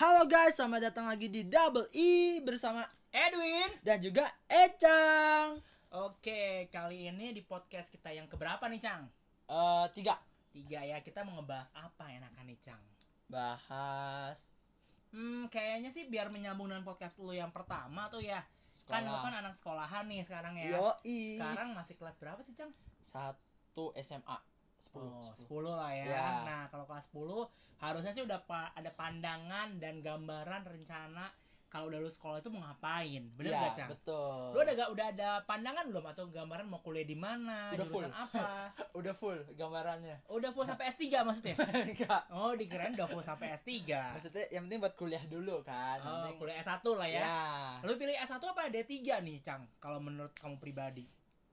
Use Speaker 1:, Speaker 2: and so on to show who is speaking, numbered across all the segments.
Speaker 1: Halo guys, selamat datang lagi di Double E bersama
Speaker 2: Edwin.
Speaker 1: dan juga Ecang.
Speaker 2: Oke, kali ini di podcast kita yang keberapa nih, Cang?
Speaker 1: Eh tiga
Speaker 2: Tiga ya, kita mau ngebahas apa enakan nih, Cang?
Speaker 1: bahas
Speaker 2: Hmm, kayaknya sih biar menyambung dengan podcast lu yang pertama tuh ya. Kan lu kan
Speaker 1: sekolah.
Speaker 2: anak sekolahan nih sekarang ya.
Speaker 1: Yoi.
Speaker 2: Sekarang masih kelas berapa sih, Cang?
Speaker 1: Satu SMA sepuluh.
Speaker 2: Oh,
Speaker 1: sepuluh.
Speaker 2: 10 lah ya.
Speaker 1: Ya.
Speaker 2: Nah, kalau kelas 10 harusnya sih udah pa- ada pandangan dan gambaran rencana kalau udah lu sekolah itu mau ngapain. Bener
Speaker 1: Iya,
Speaker 2: nggak, Cang?
Speaker 1: Betul.
Speaker 2: Lu udah, ga- udah ada pandangan belum atau gambaran mau kuliah di mana,
Speaker 1: Udah
Speaker 2: jurusan
Speaker 1: full.
Speaker 2: apa?
Speaker 1: Udah full gambarannya.
Speaker 2: Udah full sampai S3 maksudnya?
Speaker 1: Enggak.
Speaker 2: Oh, dikirain udah full sampai S3.
Speaker 1: Maksudnya yang penting buat kuliah dulu kan. Yang
Speaker 2: Nah. Oh,
Speaker 1: penting-
Speaker 2: kuliah S1 lah ya.
Speaker 1: Ya.
Speaker 2: Lu pilih S1 apa D3 nih, Cang? Kalau menurut kamu pribadi.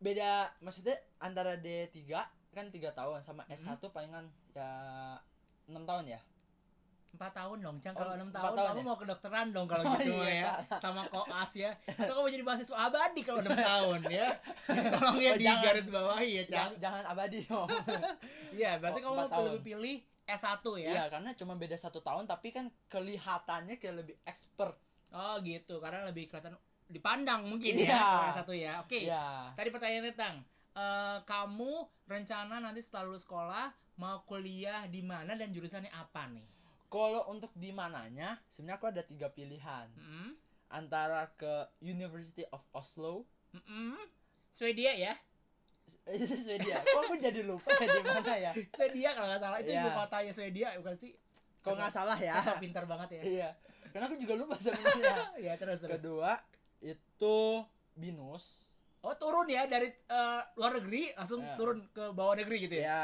Speaker 1: Beda maksudnya antara D3 kan tiga tahun sama S1
Speaker 2: Hmm.
Speaker 1: palingan ya enam tahun ya.
Speaker 2: 4 tahun dong, Cang.
Speaker 1: Oh,
Speaker 2: Kalau enam 6
Speaker 1: empat
Speaker 2: tahun,
Speaker 1: tahun
Speaker 2: kamu
Speaker 1: ya?
Speaker 2: mau kedokteran dong kalau
Speaker 1: Oh,
Speaker 2: gitu
Speaker 1: iya,
Speaker 2: ya.
Speaker 1: salah.
Speaker 2: Sama koas ya. Atau kamu jadi mahasiswa abadi kalau 6 tahun ya. Tolong ya
Speaker 1: Oh,
Speaker 2: di
Speaker 1: jangan.
Speaker 2: garis bawahi ya, Cang.
Speaker 1: Jangan, jangan abadi dong.
Speaker 2: Iya, berarti
Speaker 1: Oh,
Speaker 2: kamu
Speaker 1: empat
Speaker 2: lebih
Speaker 1: tahun.
Speaker 2: lebih pilih S1 ya.
Speaker 1: Iya, karena cuma beda satu tahun, tapi kan kelihatannya kayak lebih expert.
Speaker 2: Oh, gitu. Karena lebih kelihatan dipandang mungkin ya
Speaker 1: Iya.
Speaker 2: kalau S1 ya. Oke.
Speaker 1: Iya.
Speaker 2: Tadi pertanyaannya Tang, Eh, kamu rencana nanti setelah lulus sekolah mau kuliah di mana dan jurusannya apa nih?
Speaker 1: Kalau untuk di mananya, sebenarnya aku ada tiga pilihan
Speaker 2: Mm-mm.
Speaker 1: antara ke University of Oslo,
Speaker 2: Mm-mm. Swedia ya?
Speaker 1: Swedia. Kok aku jadi lupa ya di mana ya?
Speaker 2: Swedia kalau nggak salah itu
Speaker 1: Iya.
Speaker 2: ibu kotanya Swedia bukan sih?
Speaker 1: Kalau nggak salah ya.
Speaker 2: Saya so pintar banget ya.
Speaker 1: Iya. Karena aku juga lupa sebenarnya.
Speaker 2: ya terus terus.
Speaker 1: Kedua itu Binus.
Speaker 2: Oh turun ya dari eh, luar negeri langsung
Speaker 1: Iya.
Speaker 2: turun ke bawah negeri gitu ya?
Speaker 1: Ya.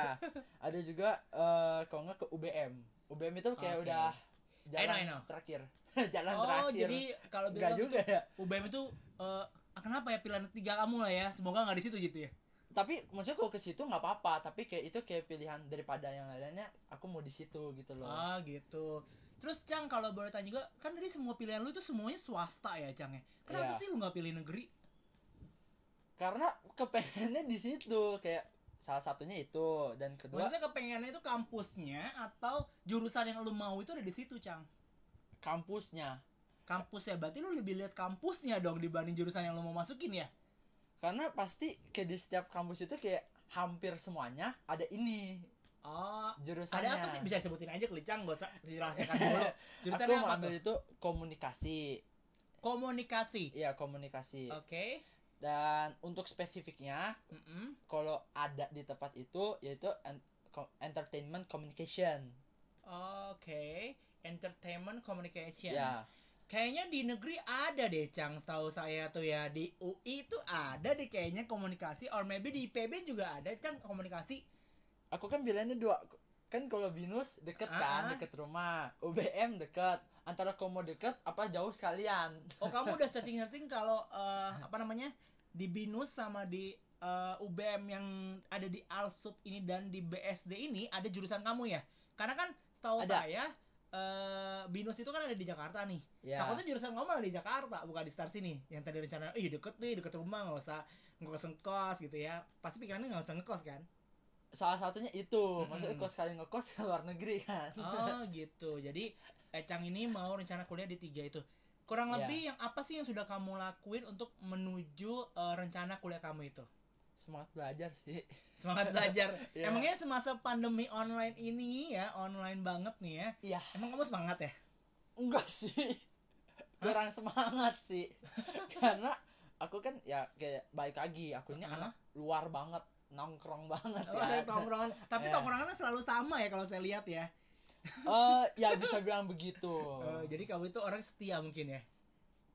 Speaker 1: Ada juga eh, kalau nggak ke UBM. UBM itu kayak
Speaker 2: Oke.
Speaker 1: udah
Speaker 2: I know,
Speaker 1: jalan
Speaker 2: I know.
Speaker 1: terakhir. jalan
Speaker 2: oh
Speaker 1: terakhir.
Speaker 2: jadi kalau
Speaker 1: Nggak
Speaker 2: bilang
Speaker 1: juga ya.
Speaker 2: UBM itu eh, ah, kenapa ya pilihan ketiga kamu lah ya? Semoga nggak di situ gitu ya.
Speaker 1: tapi maksudnya kalau ke situ nggak apa-apa tapi kayak itu kayak pilihan daripada yang lainnya aku mau di situ gitu loh
Speaker 2: Ah gitu. Terus Cang kalau boleh tanya juga, kan tadi semua pilihan lu itu semuanya swasta ya Cang ya? Kenapa
Speaker 1: Iya.
Speaker 2: sih lu nggak pilih negeri?
Speaker 1: karena kepengennya di situ kayak salah satunya itu dan kedua
Speaker 2: Maksudnya kepengennya itu kampusnya atau jurusan yang lu mau itu ada di situ Cang?
Speaker 1: kampusnya
Speaker 2: Kampusnya, berarti lu lebih lihat kampusnya dong dibanding jurusan yang lu mau masukin ya?
Speaker 1: karena pasti kayak di setiap kampus itu kayak hampir semuanya ada ini
Speaker 2: Oh,
Speaker 1: jurusannya
Speaker 2: ada apa sih? Bisa sebutin aja kali Cang, gak usah dirahasiakan dulu.
Speaker 1: aku
Speaker 2: Jurusannya
Speaker 1: mau
Speaker 2: apa
Speaker 1: ambil
Speaker 2: tuh?
Speaker 1: itu komunikasi
Speaker 2: Komunikasi.
Speaker 1: iya komunikasi
Speaker 2: Oke.
Speaker 1: dan untuk spesifiknya
Speaker 2: Mm-mm.
Speaker 1: kalau ada di tempat itu yaitu en- ko- entertainment communication
Speaker 2: Oke. Entertainment Communication.
Speaker 1: ya
Speaker 2: Kayaknya di negeri ada deh Cang, setahu saya tuh ya di UI itu ada deh kayaknya komunikasi, or maybe di IPB juga ada Cang komunikasi.
Speaker 1: aku kan bilangnya dua kan kalau binus deket kan
Speaker 2: Ah.
Speaker 1: deket rumah UBM deket antara komo deket apa jauh sekalian
Speaker 2: Oh kamu udah searching-searching kalau eh, apa namanya di Binus sama di eh, UBM yang ada di Alsut ini dan di BSD ini ada jurusan kamu ya? Karena kan setahu
Speaker 1: Ada.
Speaker 2: saya eh, Binus itu kan ada di Jakarta nih.
Speaker 1: ya
Speaker 2: Takutnya jurusan kamu malah di Jakarta, bukan di Star sini. Yang tadi rencana, ih deket nih, deket rumah, nggak usah ngekos ngekos gitu ya. Pasti pikirannya nggak usah ngekos kan?
Speaker 1: salah satunya itu maksudnya
Speaker 2: Mm-mm.
Speaker 1: kos sekali ngekos ke luar negeri kan
Speaker 2: Oh gitu. Jadi Ecang ini mau rencana kuliah di tiga itu. Kurang
Speaker 1: Iya.
Speaker 2: lebih yang apa sih yang sudah kamu lakuin untuk menuju eh, rencana kuliah kamu itu?
Speaker 1: semangat belajar sih
Speaker 2: Semangat belajar.
Speaker 1: Iya.
Speaker 2: Emangnya semasa pandemi online ini ya, online banget nih ya.
Speaker 1: Iya.
Speaker 2: Emang kamu semangat ya?
Speaker 1: enggak sih kurang semangat sih karena aku kan ya kayak balik lagi aku ini
Speaker 2: Heeh.
Speaker 1: anak luar banget nongkrong banget
Speaker 2: Oh,
Speaker 1: ya
Speaker 2: tongkrongan. Tapi
Speaker 1: Iya.
Speaker 2: tongkrongannya selalu sama ya kalau saya lihat ya.
Speaker 1: Eh, ya bisa bilang begitu
Speaker 2: Eh, jadi kamu itu orang setia mungkin ya.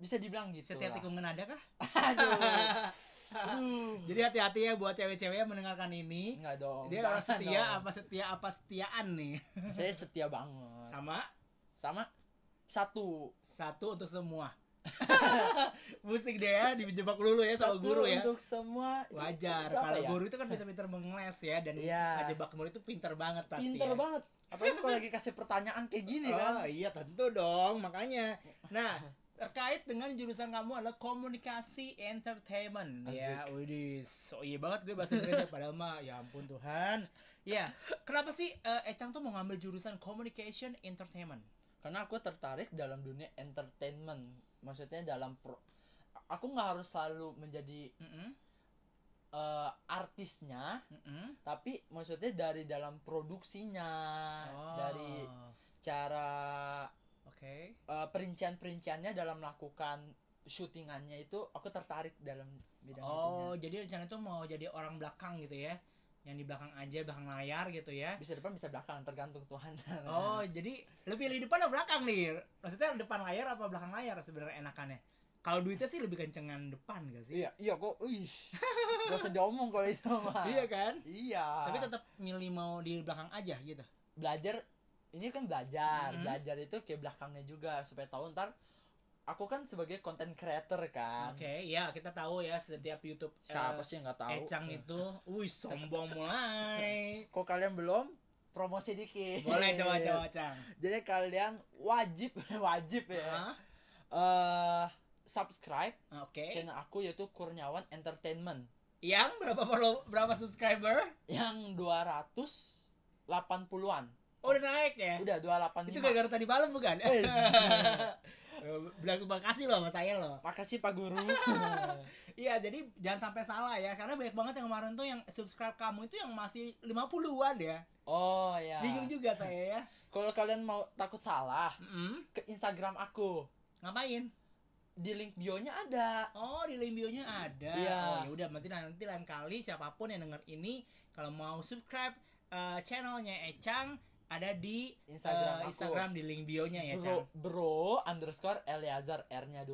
Speaker 1: bisa dibilang gitu
Speaker 2: Setia
Speaker 1: lah.
Speaker 2: tikungan ada kah?
Speaker 1: aduh aduh
Speaker 2: Jadi hati-hati ya buat cewek-cewek yang mendengarkan ini.
Speaker 1: Oh, Enggak dong.
Speaker 2: Dia orang
Speaker 1: jangan
Speaker 2: setia
Speaker 1: dong.
Speaker 2: apa setia apa setiaan nih.
Speaker 1: Saya setia banget.
Speaker 2: Sama
Speaker 1: Sama satu.
Speaker 2: satu untuk semua musik deh ya dijebak lulu ya soal
Speaker 1: Satu
Speaker 2: guru ya
Speaker 1: Untuk semua itu-
Speaker 2: wajar
Speaker 1: itu apa
Speaker 2: kalau
Speaker 1: ya?
Speaker 2: guru itu kan pinter-pinter mengeles ya dan
Speaker 1: Iya.
Speaker 2: ngejebak murid itu pinter banget pasti
Speaker 1: pinter
Speaker 2: ya.
Speaker 1: banget. Apalagi kalau lagi kasih pertanyaan kayak gini kan.
Speaker 2: oh iya tentu dong makanya nah terkait dengan jurusan kamu adalah komunikasi entertainment ya
Speaker 1: Asik.
Speaker 2: Widih, so iya banget gue bahasa Inggris padahal mah ya ampun Tuhan ya kenapa sih eh, Ecang tuh mau ngambil jurusan communication entertainment
Speaker 1: karena aku tertarik dalam dunia entertainment maksudnya dalam pro aku nggak harus selalu menjadi
Speaker 2: Mm-mm,
Speaker 1: eh, artisnya
Speaker 2: mm-mm.
Speaker 1: tapi maksudnya dari dalam produksinya
Speaker 2: Oh,
Speaker 1: Nah, dari cara
Speaker 2: oke
Speaker 1: eh, perincian-perinciannya dalam melakukan syutingannya itu aku tertarik dalam bidang
Speaker 2: oh
Speaker 1: itunya.
Speaker 2: jadi rencana tuh mau jadi orang belakang gitu ya yang di belakang aja belakang layar gitu ya
Speaker 1: bisa depan bisa belakang tergantung Tuhan
Speaker 2: oh jadi lebih pilih depan atau belakang nih maksudnya depan layar apa belakang layar sebenarnya enakannya kalau duitnya sih lebih kencengan depan gak sih
Speaker 1: iya iya kok ih gak usah diomong kalau itu mah
Speaker 2: iya kan
Speaker 1: iya
Speaker 2: tapi tetap milih mau di belakang aja gitu
Speaker 1: belajar ini kan belajar
Speaker 2: Mhm.
Speaker 1: belajar itu ke belakangnya juga supaya tahu ntar aku kan sebagai content creator kan
Speaker 2: oke ya kita tahu ya setiap YouTube eh,
Speaker 1: siapa sih yang nggak tahu Eh.
Speaker 2: Ecang itu, wih sombong mulai.
Speaker 1: kok kalian belum promosi dikit
Speaker 2: Boleh
Speaker 1: Iya,
Speaker 2: coba coba Cang.
Speaker 1: jadi kalian wajib wajib ya
Speaker 2: Hah?
Speaker 1: eh subscribe
Speaker 2: Oke.
Speaker 1: channel aku yaitu Kurniawan Entertainment
Speaker 2: Yang berapa follow berapa subscriber?
Speaker 1: yang 280-an
Speaker 2: Oh, udah naik ya.
Speaker 1: udah 285
Speaker 2: Itu gara-gara tadi malam bukan? Eh,
Speaker 1: Eh.
Speaker 2: Bilang terima kasih loh sama saya loh.
Speaker 1: makasih Pak Guru
Speaker 2: Iya, jadi jangan sampai salah ya karena banyak banget yang kemarin tuh yang subscribe kamu itu yang masih 50-an ya.
Speaker 1: oh ya
Speaker 2: Bingung juga saya ya.
Speaker 1: kalau kalian mau takut salah
Speaker 2: Mm-mm.
Speaker 1: ke Instagram aku
Speaker 2: Ngapain?
Speaker 1: di link bio-nya ada.
Speaker 2: Oh, di link bio-nya ada.
Speaker 1: Iya.
Speaker 2: Oh, ya udah nanti nanti lain kali siapapun yang denger ini kalau mau subscribe eh, channelnya Echang ada di eh,
Speaker 1: Instagram aku.
Speaker 2: Instagram di link bio-nya ya,
Speaker 1: Bro,
Speaker 2: Chang.
Speaker 1: bro underscore Eleazar R-nya 2.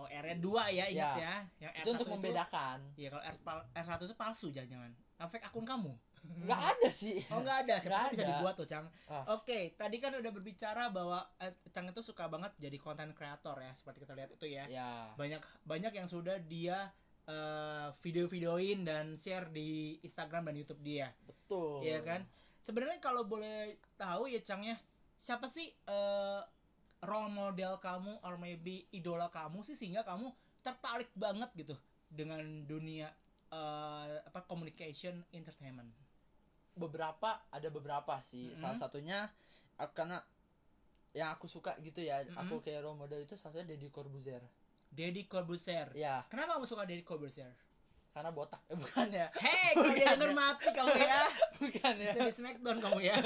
Speaker 2: Oh, R-nya 2 ya, ingat
Speaker 1: Iya.
Speaker 2: ya. Yang
Speaker 1: Itu
Speaker 2: R1
Speaker 1: untuk membedakan.
Speaker 2: Iya, kalau R, pal- R1 itu palsu jangan-jangan. Efek akun kamu.
Speaker 1: Nggak ada sih.
Speaker 2: Oh, enggak ada. Siapa
Speaker 1: Nggak
Speaker 2: tahu bisa
Speaker 1: ada.
Speaker 2: dibuat tuh, Chang.
Speaker 1: Ah.
Speaker 2: Oke, tadi kan udah berbicara bahwa eh, Chang itu suka banget jadi content creator ya, seperti kita lihat itu ya.
Speaker 1: Ya.
Speaker 2: banyak banyak yang sudah dia eh, video-videoin dan share di Instagram dan YouTube dia,
Speaker 1: Betul.
Speaker 2: Iya kan? Sebenarnya kalau boleh tahu ya Cang ya, siapa sih eh, role model kamu or maybe idola kamu sih sehingga kamu tertarik banget gitu dengan dunia eh, apa communication entertainment.
Speaker 1: Beberapa ada beberapa sih.
Speaker 2: Mm-mm.
Speaker 1: Salah satunya aku- karena yang aku suka gitu ya,
Speaker 2: Mm-mm.
Speaker 1: aku kayak role model itu salah satunya Deddy Corbuzier.
Speaker 2: Deddy Corbuzier.
Speaker 1: Ya,
Speaker 2: Kenapa kamu suka Deddy Corbuzier?
Speaker 1: karena botak. Eh, bukan
Speaker 2: Kan
Speaker 1: ya.
Speaker 2: Hei, kalau dia
Speaker 1: Bukan
Speaker 2: denger
Speaker 1: ya.
Speaker 2: mati kamu ya.
Speaker 1: bukan ya.
Speaker 2: Bisa di smackdown kamu ya.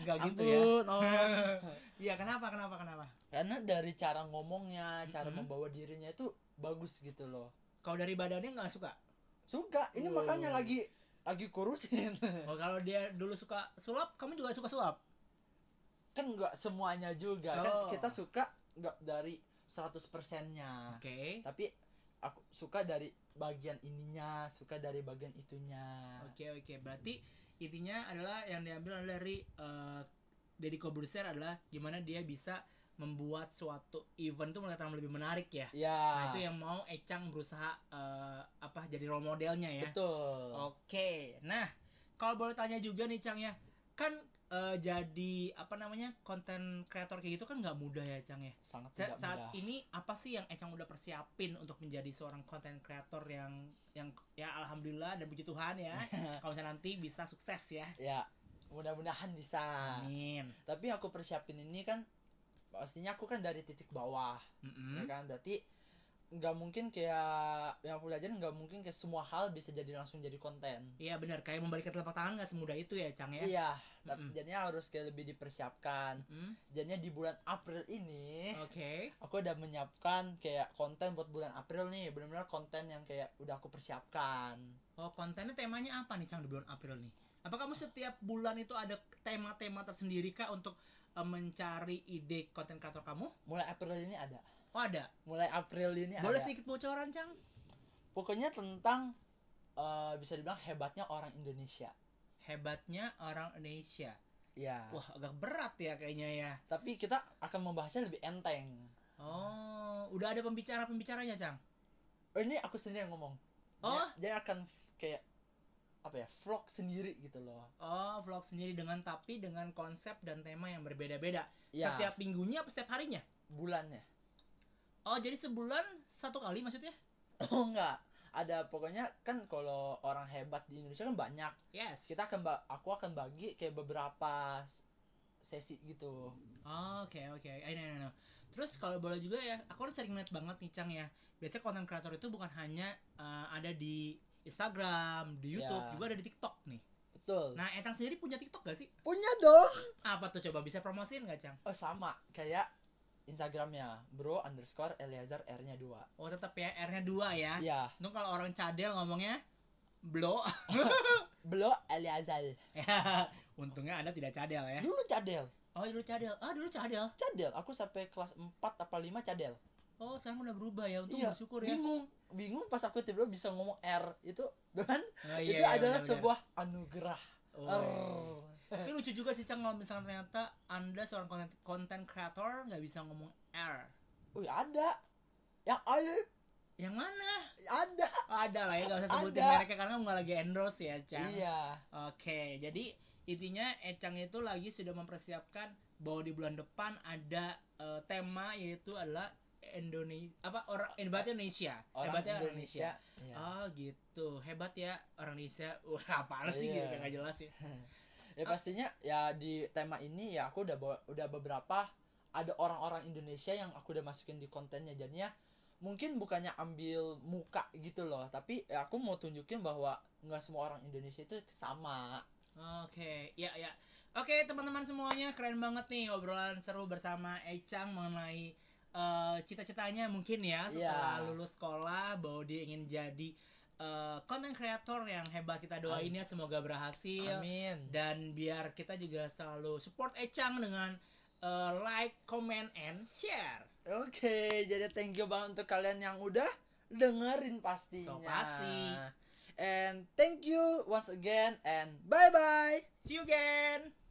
Speaker 2: Enggak gitu ya.
Speaker 1: Ampun, Om.
Speaker 2: Iya, kenapa kenapa kenapa?
Speaker 1: karena dari cara ngomongnya, cara
Speaker 2: Mm-mm.
Speaker 1: membawa dirinya itu bagus gitu loh.
Speaker 2: Kalau dari badannya nggak suka.
Speaker 1: Suka. Ini
Speaker 2: Wow.
Speaker 1: makanya lagi lagi kurusin.
Speaker 2: Oh, kalau dia dulu suka sulap, kamu juga suka sulap.
Speaker 1: kan nggak semuanya juga kan
Speaker 2: Oh.
Speaker 1: kita suka nggak dari 100 persennya
Speaker 2: Oke.
Speaker 1: tapi aku suka dari bagian ininya suka dari bagian itunya
Speaker 2: Oke, oke. Berarti intinya adalah yang diambil adalah dari eh, Deddy Corbuzier adalah gimana dia bisa membuat suatu event tuh kelihatan lebih menarik ya. Nah,
Speaker 1: ya
Speaker 2: itu yang mau Echang berusaha eh, apa jadi role modelnya ya.
Speaker 1: betul
Speaker 2: Oke, nah kalau boleh tanya juga nih Cang ya, kan eh, jadi apa namanya konten kreator kayak gitu kan nggak mudah ya Cang ya.
Speaker 1: sangat
Speaker 2: Sa-
Speaker 1: tidak
Speaker 2: saat
Speaker 1: mudah
Speaker 2: ini apa sih yang Ecang udah persiapin untuk menjadi seorang konten kreator yang yang ya alhamdulillah dan puji Tuhan ya kalau misalnya nanti bisa sukses ya.
Speaker 1: ya mudah-mudahan bisa
Speaker 2: Amin.
Speaker 1: tapi yang aku persiapin ini kan pastinya aku kan dari titik bawah
Speaker 2: Mm-mm.
Speaker 1: ya kan berarti nggak mungkin kayak yang aku belajar nggak mungkin kayak semua hal bisa jadi langsung jadi konten
Speaker 2: Iya benar kayak membalikan telapak tangan nggak semudah itu ya Cang ya.
Speaker 1: iya tapi
Speaker 2: Mm-mm.
Speaker 1: jadinya harus kayak lebih dipersiapkan
Speaker 2: Mm,
Speaker 1: jadinya di bulan April ini
Speaker 2: Oke.
Speaker 1: aku udah menyiapkan kayak konten buat bulan April nih benar-benar konten yang kayak udah aku persiapkan
Speaker 2: Oh kontennya temanya apa nih Cang di bulan April nih? Apa kamu setiap bulan itu ada tema-tema tersendiri kah untuk eh, mencari ide konten kreator kamu?
Speaker 1: mulai April ini ada
Speaker 2: Oh ada.
Speaker 1: mulai April ini Iya,
Speaker 2: Boleh
Speaker 1: ada
Speaker 2: sedikit bocoran Cang?
Speaker 1: pokoknya tentang eh, bisa dibilang hebatnya orang Indonesia
Speaker 2: Hebatnya orang Indonesia.
Speaker 1: ya
Speaker 2: Wah agak berat ya kayaknya ya.
Speaker 1: tapi kita akan membahasnya lebih enteng
Speaker 2: Oh, udah ada pembicara-pembicaranya, Cang?
Speaker 1: oh, ini aku sendiri yang ngomong
Speaker 2: Oh.
Speaker 1: dia, dia akan f- kayak apa ya vlog sendiri gitu loh
Speaker 2: Oh, vlog sendiri dengan tapi dengan konsep dan tema yang berbeda-beda.
Speaker 1: ya
Speaker 2: Setiap minggunya apa setiap harinya?
Speaker 1: bulannya
Speaker 2: Oh, jadi sebulan satu kali maksudnya?
Speaker 1: oh enggak ada pokoknya kan kalau orang hebat di Indonesia kan banyak
Speaker 2: Yes.
Speaker 1: kita akan ba- aku akan bagi kayak beberapa s- sesi gitu
Speaker 2: Oh, Oke oke, I know, I know. Terus kalau boleh juga ya, aku kan sering lihat banget nih Cang ya. Biasanya konten kreator itu bukan hanya eh, ada di Instagram, di YouTube,
Speaker 1: Ya.
Speaker 2: juga ada di TikTok nih.
Speaker 1: betul
Speaker 2: Nah, Etang sendiri punya TikTok gak sih?
Speaker 1: punya dong
Speaker 2: Apa tuh coba bisa promosiin gak Cang?
Speaker 1: oh sama kayak Instagramnya bro underscore Eliazar R nya dua
Speaker 2: Oh tetap ya, R-nya dua ya.
Speaker 1: ya
Speaker 2: Untung kalau orang cadel ngomongnya blow.
Speaker 1: bro Eliazar
Speaker 2: Untungnya Anda tidak cadel ya.
Speaker 1: dulu cadel
Speaker 2: Oh dulu cadel, ah dulu cadel.
Speaker 1: cadel aku sampai kelas 4 apa 5 cadel
Speaker 2: Oh sekarang udah berubah ya, untung
Speaker 1: Iya,
Speaker 2: bersyukur ya.
Speaker 1: bingung bingung pas aku tiba-tiba bisa ngomong R itu kan
Speaker 2: Oh,
Speaker 1: itu
Speaker 2: iya, iya,
Speaker 1: adalah
Speaker 2: benar-benar.
Speaker 1: sebuah anugerah
Speaker 2: Oh.
Speaker 1: Err.
Speaker 2: Tapi lucu juga sih Cang kalau misalnya ternyata Anda seorang konten konten creator nggak bisa ngomong R.
Speaker 1: Wih ada yang ada
Speaker 2: Yang mana?
Speaker 1: ada
Speaker 2: Ada lah ya, nggak usah sebutin
Speaker 1: Ada.
Speaker 2: mereknya karena nggak lagi endorse ya, Cang.
Speaker 1: iya
Speaker 2: Oke, jadi intinya Ecang itu lagi sudah mempersiapkan bahwa di bulan depan ada eh, tema yaitu adalah Indonesia apa orang hebat Indonesia.
Speaker 1: orang
Speaker 2: Hebatnya
Speaker 1: Indonesia Iya.
Speaker 2: Oh gitu, hebat ya orang Indonesia. Wah, apaan sih gitu
Speaker 1: Iya.
Speaker 2: kayak nggak jelas sih.
Speaker 1: ya pastinya ya di tema ini ya aku udah bawa- udah beberapa ada orang-orang Indonesia yang aku udah masukin di kontennya jadinya mungkin bukannya ambil muka gitu loh tapi ya, aku mau tunjukin bahwa nggak semua orang Indonesia itu sama
Speaker 2: Oke, ya ya. Oke, teman-teman semuanya keren banget nih obrolan seru bersama Echang mengenai eh, cita-citanya mungkin ya setelah
Speaker 1: Iya.
Speaker 2: lulus sekolah bahwa dia ingin jadi konten kreator yang hebat kita doain ya semoga berhasil
Speaker 1: amin
Speaker 2: Iya. dan biar kita juga selalu support Echang dengan eh, like, comment and share.
Speaker 1: Oke, jadi thank you banget untuk kalian yang udah dengerin pastinya.
Speaker 2: So, pasti.
Speaker 1: And thank you once again and bye bye.
Speaker 2: See you again.